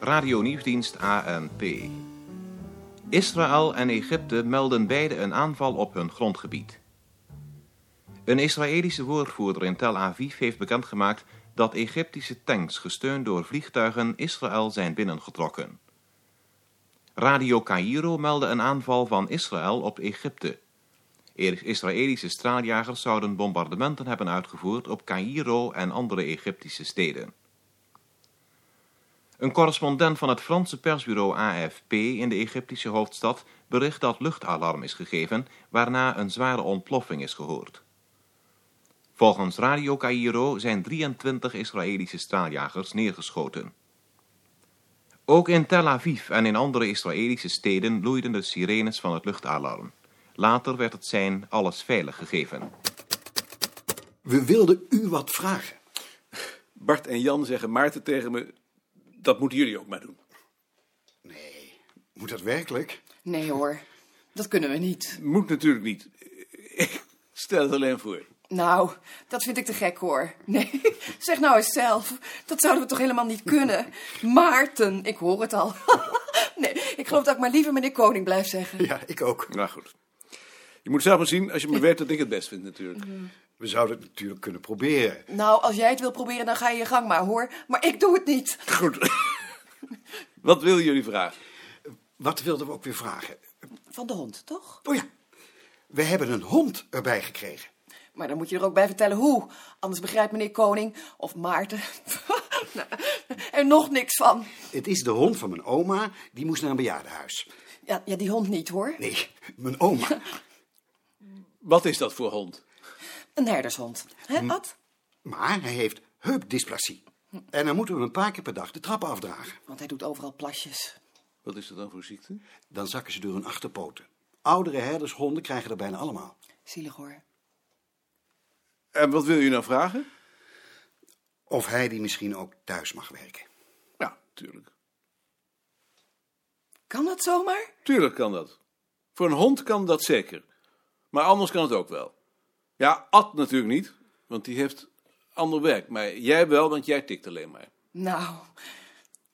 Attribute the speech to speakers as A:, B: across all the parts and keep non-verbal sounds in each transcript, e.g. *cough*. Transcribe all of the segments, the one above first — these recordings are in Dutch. A: Radio Nieuwsdienst ANP. Israël en Egypte melden beide een aanval op hun grondgebied. Een Israëlische woordvoerder in Tel Aviv heeft bekendgemaakt dat Egyptische tanks gesteund door vliegtuigen Israël zijn binnengetrokken. Radio Cairo meldde een aanval van Israël op Egypte. Israëlische straaljagers zouden bombardementen hebben uitgevoerd op Cairo en andere Egyptische steden. Een correspondent van het Franse persbureau AFP in de Egyptische hoofdstad bericht dat luchtalarm is gegeven, waarna een zware ontploffing is gehoord. Volgens Radio Cairo zijn 23 Israëlische straaljagers neergeschoten. Ook in Tel Aviv en in andere Israëlische steden loeiden de sirenes van het luchtalarm. Later werd het zijn alles veilig gegeven.
B: We wilden u wat vragen.
C: Bart en Jan zeggen Maarten tegen me, dat moeten jullie ook maar doen.
B: Nee, moet dat werkelijk? *laughs*
D: Nee hoor, dat kunnen we niet.
C: Moet natuurlijk niet. *laughs* Ik stel het alleen voor.
D: Nou, dat vind ik te gek hoor. Nee, *laughs* zeg nou eens zelf. Dat zouden we toch helemaal niet kunnen? Maarten, ik hoor het al. *laughs* Nee, ik geloof dat ik maar liever meneer Koning blijf zeggen.
B: Ja, ik ook.
C: Nou goed. Je moet zelf maar zien, als je me weet dat ik het best vind natuurlijk.
B: We zouden het natuurlijk kunnen proberen.
D: Nou, als jij het wil proberen, dan ga je je gang maar hoor. Maar ik doe het niet.
C: *laughs* Goed. *laughs* Wat willen jullie vragen?
B: Wat wilden we ook weer vragen?
D: Van de hond, toch?
B: Oh ja, we hebben een hond erbij gekregen.
D: Maar dan moet je er ook bij vertellen hoe. Anders begrijpt meneer Koning of Maarten *laughs* nou, er nog niks van.
B: Het is de hond van mijn oma, die moest naar een bejaardenhuis.
D: Ja, ja die hond niet hoor.
B: Nee, *laughs* mijn oma.
C: Wat is dat voor hond?
D: Een herdershond. Hè, Ad?
B: Maar hij heeft heupdysplasie. En dan moeten we hem een paar keer per dag de trappen afdragen.
D: Want hij doet overal plasjes.
C: Wat is dat dan voor ziekte?
B: Dan zakken ze door hun achterpoten. Oudere herdershonden krijgen er bijna allemaal.
D: Zielig hoor.
C: En wat wil je nou vragen?
B: Of hij die misschien ook thuis mag werken.
C: Ja, tuurlijk.
D: Kan dat zomaar?
C: Tuurlijk kan dat. Voor een hond kan dat zeker. Maar anders kan het ook wel. Ja, Ad natuurlijk niet, want die heeft ander werk. Maar jij wel, want jij tikt alleen maar.
D: Nou,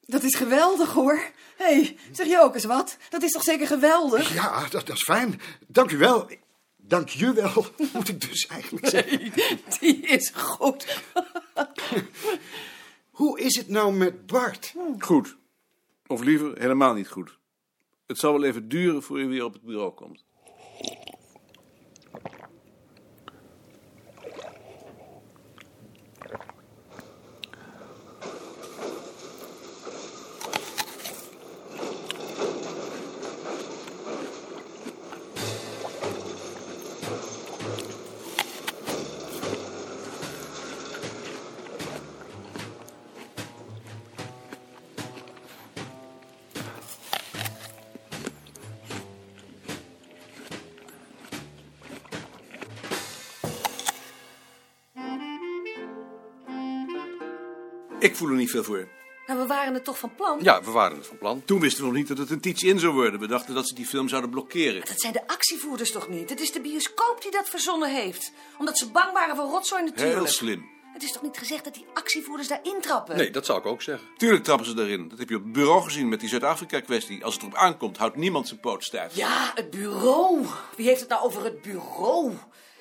D: dat is geweldig hoor. Hé, hey, zeg je ook eens wat? Dat is toch zeker geweldig?
E: *laughs*
B: Ja, dat, dat is fijn. Dank u wel. Dank je wel, *laughs* moet ik dus eigenlijk zeggen.
D: Die is goed.
B: Hoe is het nou met Bart?
C: Goed. Of liever helemaal niet goed. Het zal wel even duren voor je weer op het bureau komt. Ik voel er niet veel voor.
E: Maar we waren het toch van plan?
F: Ja, we waren het van plan.
C: Toen wisten we nog niet dat het een teach-in zou worden. We dachten dat ze die film zouden blokkeren.
E: Dat zijn de actievoerders toch niet? Het is de bioscoop die dat verzonnen heeft. Omdat ze bang waren voor rotzooi natuurlijk.
C: Heel slim.
E: Het is toch niet gezegd dat die actievoerders daar intrappen?
F: Nee, dat zou ik ook zeggen.
C: Tuurlijk trappen ze daarin. Dat heb je op het bureau gezien met die Zuid-Afrika-kwestie. Als het erop aankomt, houdt niemand zijn poot stijf.
E: Ja, het bureau. Wie heeft het nou over het bureau?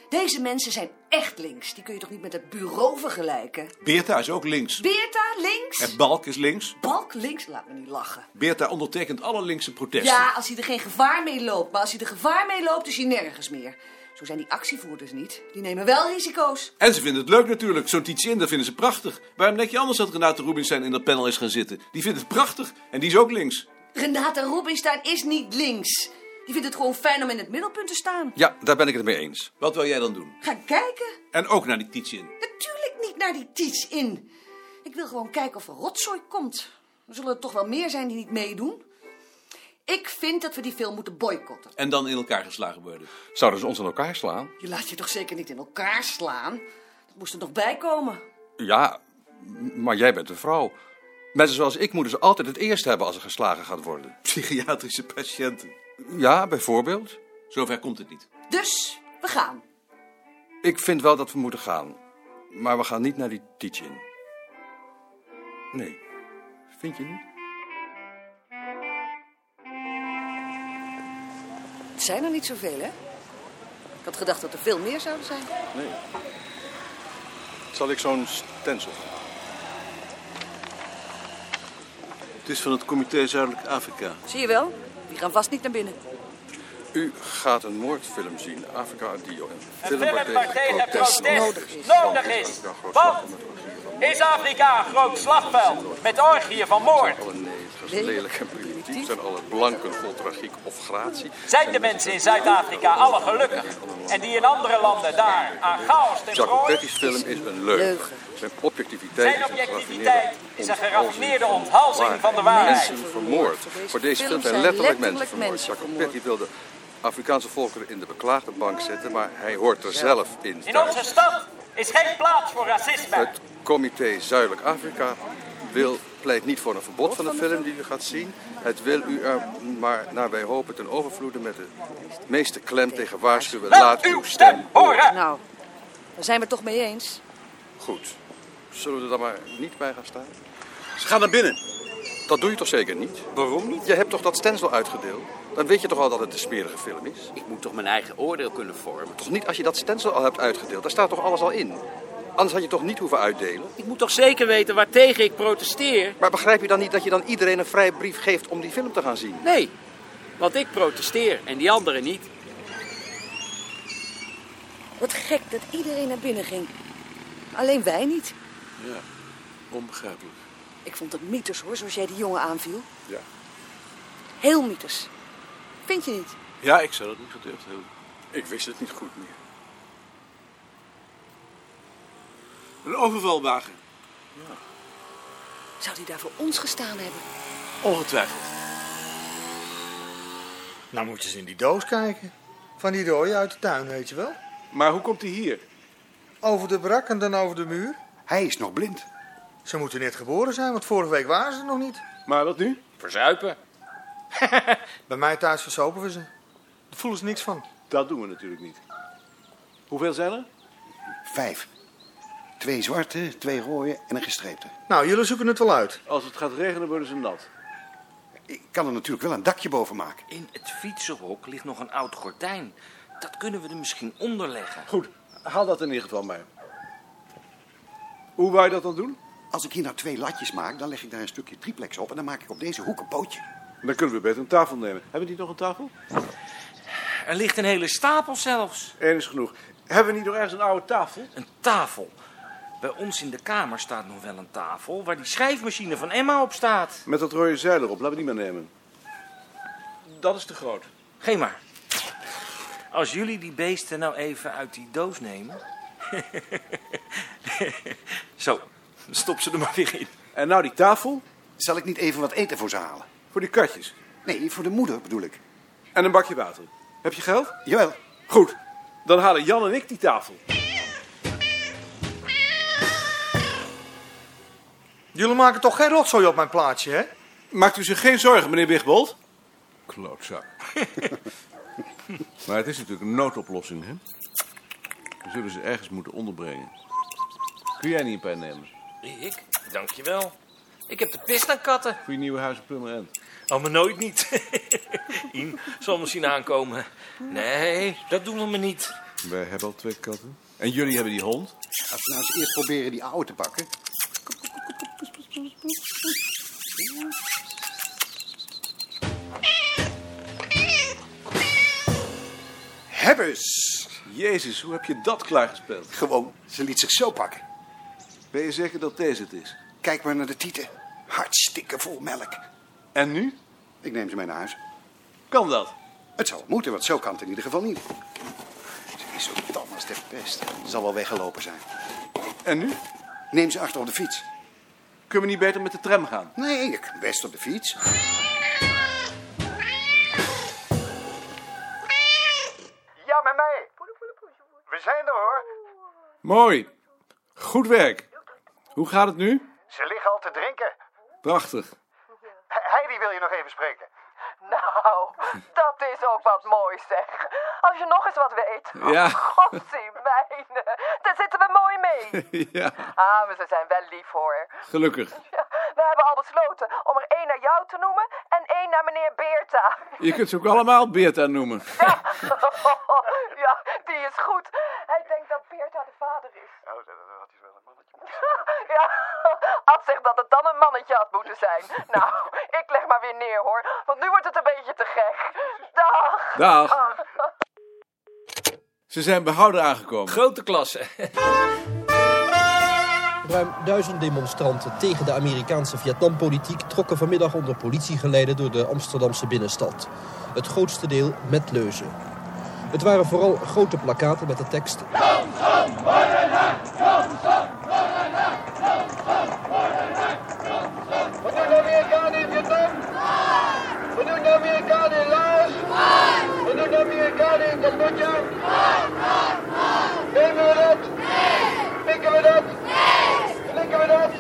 E: Deze mensen zijn echt links. Die kun je toch niet met het bureau vergelijken?
C: Beerta is ook links.
E: Beerta links?
C: En Balk is links.
E: Balk links? Laat me niet lachen.
C: Beerta ondertekent alle linkse protesten.
E: Ja, als hij er geen gevaar mee loopt. Maar als hij er gevaar mee loopt, is hij nergens meer. Zo zijn die actievoerders niet. Die nemen wel risico's.
C: En ze vinden het leuk natuurlijk. Zo'n teach-in, dat vinden ze prachtig. Waarom denk je anders dat Renate Rubinstein in dat panel is gaan zitten? Die vindt het prachtig. En die is ook links.
E: Renata Rubinstein is niet links. Die vindt het gewoon fijn om in het middelpunt te staan.
F: Ja, daar ben ik het mee eens.
C: Wat wil jij dan doen?
E: Gaan kijken?
C: En ook naar die teach-in.
E: Natuurlijk niet naar die teach-in. Ik wil gewoon kijken of er rotzooi komt. Er zullen er toch wel meer zijn die niet meedoen. Ik vind dat we die film moeten boycotten.
C: En dan in elkaar geslagen worden.
F: Zouden ze ons aan elkaar slaan?
E: Je laat je toch zeker niet in elkaar slaan? Dat moest er nog bij komen.
F: Ja, m- maar jij bent een vrouw. Mensen zoals ik moeten ze altijd het eerst hebben als er geslagen gaat worden.
C: Psychiatrische patiënten.
F: Ja, bijvoorbeeld.
C: Zover komt het niet.
E: Dus, we gaan.
F: Ik vind wel dat we moeten gaan. Maar we gaan niet naar die teach-in. Nee, vind je niet?
E: zijn er niet zoveel, hè? Ik had gedacht dat er veel meer zouden zijn.
F: Nee. Zal ik zo'n stencil?
C: Het is van het Comité Zuidelijk Afrika.
E: Zie je wel? Die gaan vast niet naar binnen.
F: U gaat een moordfilm zien, Afrika Dio. Een
G: film waar tegen protest
E: nodig is.
G: nodig is. Want is Afrika een groot slagveld met orgieën van moord?
F: Alle negers, lelijk en primitief, zijn alle blanken vol tragiek of gratie.
G: Zijn de mensen in Zuid-Afrika alle gelukkig? En die in andere landen daar aan chaos ten
F: Jacques
G: prooi?
F: Betty's film is een leugen. Zijn objectiviteit
G: Zijn
F: is een
G: objectiviteit is een geraffineerde
F: onthalsing
G: onthalsing van de waarheid.
F: Mensen vermoord. Voor deze film zijn letterlijk mensen vermoord. Jacques Betty wilde Afrikaanse volkeren in de beklaagde bank zetten, maar hij hoort er zelf in.
G: In onze stad is geen plaats voor racisme.
F: Het comité Zuidelijk Afrika wil, pleit niet voor een verbod van de film die u gaat zien. Het wil u er maar naar wij hopen ten overvloede met de meeste klem tegen waarschuwen.
G: Laat
F: Laat
G: uw stem horen!
E: Nou, daar zijn we het toch mee eens.
F: Goed. Zullen we er dan maar niet bij gaan staan?
C: Ze gaan naar binnen.
F: Dat doe je toch zeker niet? Waarom niet? Je hebt toch dat stencil uitgedeeld? Dan weet je toch al dat het een smerige film is?
H: Ik moet toch mijn eigen oordeel kunnen vormen.
F: Toch niet als je dat stencil al hebt uitgedeeld? Daar staat toch alles al in? Anders had je toch niet hoeven uitdelen?
H: Ik moet toch zeker weten waartegen ik protesteer?
F: Maar begrijp je dan niet dat je dan iedereen een vrije brief geeft om die film te gaan zien?
H: Nee, want ik protesteer en die anderen niet.
E: Wat gek dat iedereen naar binnen ging. Alleen wij niet.
C: Ja, onbegrijpelijk.
E: Ik vond het mythes hoor, zoals jij die jongen aanviel.
F: Ja.
E: Heel mythes. Vind je niet?
C: Ja, ik zou dat niet gedurfd hebben.
F: Ik wist het niet goed meer.
C: Een overvalwagen.
E: Zou die daar voor ons gestaan hebben?
C: Ongetwijfeld.
I: Nou moet je eens in die doos kijken. Van die rode uit de tuin, weet je wel.
C: Maar hoe komt hij hier?
I: Over de brak en dan over de muur.
B: Hij is nog blind.
I: Ze moeten net geboren zijn, want vorige week waren ze er nog niet.
C: Maar wat nu?
H: Verzuipen.
I: Bij mij thuis versopen we ze. Daar voelen ze niks van.
C: Dat doen we natuurlijk niet. Hoeveel zijn er?
B: Vijf. Twee zwarte, twee rode en een gestreepte.
I: Nou, jullie zoeken het wel uit.
C: Als het gaat regenen worden ze nat.
B: Ik kan er natuurlijk wel een dakje boven maken.
J: In het fietsenhok ligt nog een oud gordijn. Dat kunnen we er misschien onder leggen.
C: Goed, haal dat in ieder geval mee. Hoe wou je dat dan doen?
B: Als ik hier nou twee latjes maak, dan leg ik daar een stukje triplex op... en dan maak ik op deze hoek een pootje.
C: Dan kunnen we beter een tafel nemen. Hebben die nog een tafel?
J: Er ligt een hele stapel zelfs.
C: Eén is genoeg. Hebben we niet nog ergens een oude tafel?
J: Een tafel. Bij ons in de kamer staat nog wel een tafel waar die schrijfmachine van Emma op staat.
C: Met dat rode zeil erop, laten we die maar nemen. Dat is te groot.
J: Geen maar. Als jullie die beesten nou even uit die doos nemen. *laughs* Zo, stop ze er maar weer in.
C: En nou die tafel
B: Zal ik niet even wat eten voor ze halen?
C: voor die katjes.
B: Nee, voor de moeder bedoel ik.
C: En een bakje water. Heb je geld?
B: Jawel. Nou,
C: Goed, dan halen Jan en ik die tafel.
I: Jullie maken toch geen rotzooi op mijn plaatsje, hè?
C: Maakt u zich geen zorgen, meneer Wigbold? Klootzak. *laughs* maar het is natuurlijk een noodoplossing, hè? We zullen ze ergens moeten onderbrengen. Kun jij niet een pijn nemen
J: Ik? Dankjewel. Ik heb de pest aan katten.
C: voor je nieuwe huis op Purmerend?
J: Oh, maar nooit niet. *laughs* Ien zal me zien aankomen. Nee, dat doen we me niet.
C: Wij hebben al twee katten. En jullie hebben die hond?
B: Als we nou eens eerst proberen die oude te pakken... Hebbers!
C: Jezus, hoe heb je dat klaargespeeld?
B: Gewoon, ze liet zich zo pakken.
C: Ben je zeker dat deze het is?
B: Kijk maar naar de tieten. Hartstikke vol melk.
C: En nu?
B: Ik neem ze mee naar huis.
C: Kan dat?
B: Het zal moeten, want zo kan het in ieder geval niet. Ze is zo dom als de pest. Ze zal wel weggelopen zijn.
C: En nu?
B: Neem ze achter op de fiets.
C: Kunnen we niet beter met de tram gaan?
B: Nee, ik kan best op de fiets.
K: Ja, met mij. We zijn er hoor.
C: Mooi. Goed werk. Hoe gaat het nu?
K: Ze liggen al te drinken.
C: Prachtig.
K: Heidi wil je nog even spreken. Nou, dat is ook wat moois zeg. Als je nog eens wat weet.
C: Ja.
K: Godsie mijne. Daar zitten we mooi mee.
C: *laughs* ja,
K: Ah, maar ze zijn wel lief hoor.
C: gelukkig.
K: We hebben al
E: besloten om er één naar jou te noemen en één naar meneer Beerta.
C: Je kunt ze ook allemaal Beerta noemen.
E: Ja. ja, die is goed. Hij denkt dat Beerta de vader is.
L: Oh, dat, dat had hij wel een mannetje
E: *laughs* Ja, Ad zegt dat het dan een mannetje had moeten
L: *laughs*
E: zijn. Nou, ik leg maar weer neer hoor, want nu wordt het een beetje te gek. Dag.
C: Dag. Ze zijn behouden aangekomen.
M: Grote klasse.
I: Ruim duizend demonstranten tegen de Amerikaanse Vietnampolitiek trokken vanmiddag onder politiegeleide door de Amsterdamse binnenstad. Het grootste deel met leuzen. Het waren vooral grote plakaten met de tekst
J: Wat doen de Amerikanen in Vietnam? Wat doen de Amerikanen in Laos? Wat doen de Amerikanen in Cambodja? Nemen we dat? Pikken we dat? Flikken we dat?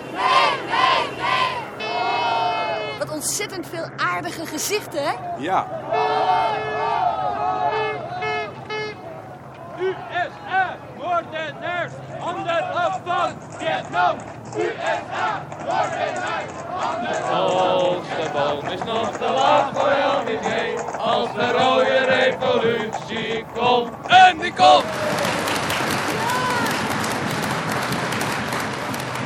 N: Wat ontzettend veel aardige gezichten, hè?
C: Ja.
O: USA, moordenaars, handen af van Vietnam. USA, moordenaars, handen Als de boom is nog te laag voor LBG, als de rode revolutie komt. En die komt!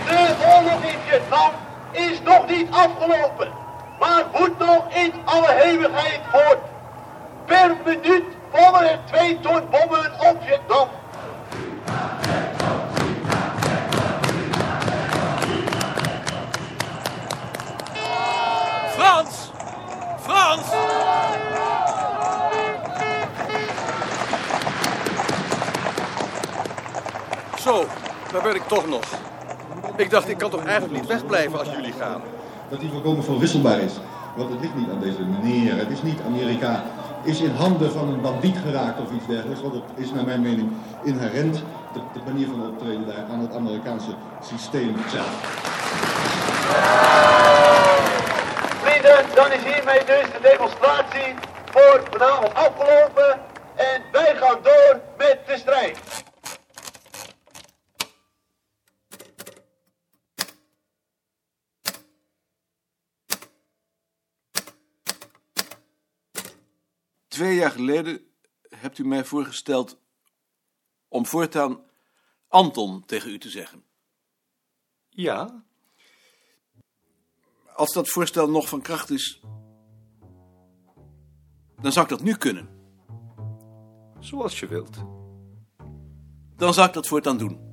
J: De oorlog in Vietnam is nog niet afgelopen, maar moet nog in alle hevigheid voort. Per minuut vallen er twee ton bommen op Vietnam.
O: Frans! Frans!
P: Zo, daar ben ik toch nog. Ik dacht, ik kan toch eigenlijk niet wegblijven als jullie gaan.
B: dat die volkomen verwisselbaar is. Want het ligt niet aan deze meneer, het is niet Amerika. Is in handen van een bandiet geraakt of iets dergelijks. Want het is naar mijn mening inherent, de, de manier van optreden daar, aan het Amerikaanse systeem zelf.
J: Vrienden, dan is hiermee dus de demonstratie voor vanavond afgelopen. En wij gaan door met de strijd.
C: Twee jaar geleden hebt u mij voorgesteld om voortaan Anton tegen u te zeggen. Ja. Als dat voorstel nog van kracht is, dan zou ik dat nu kunnen. Zoals je wilt. Dan zou ik dat voortaan doen.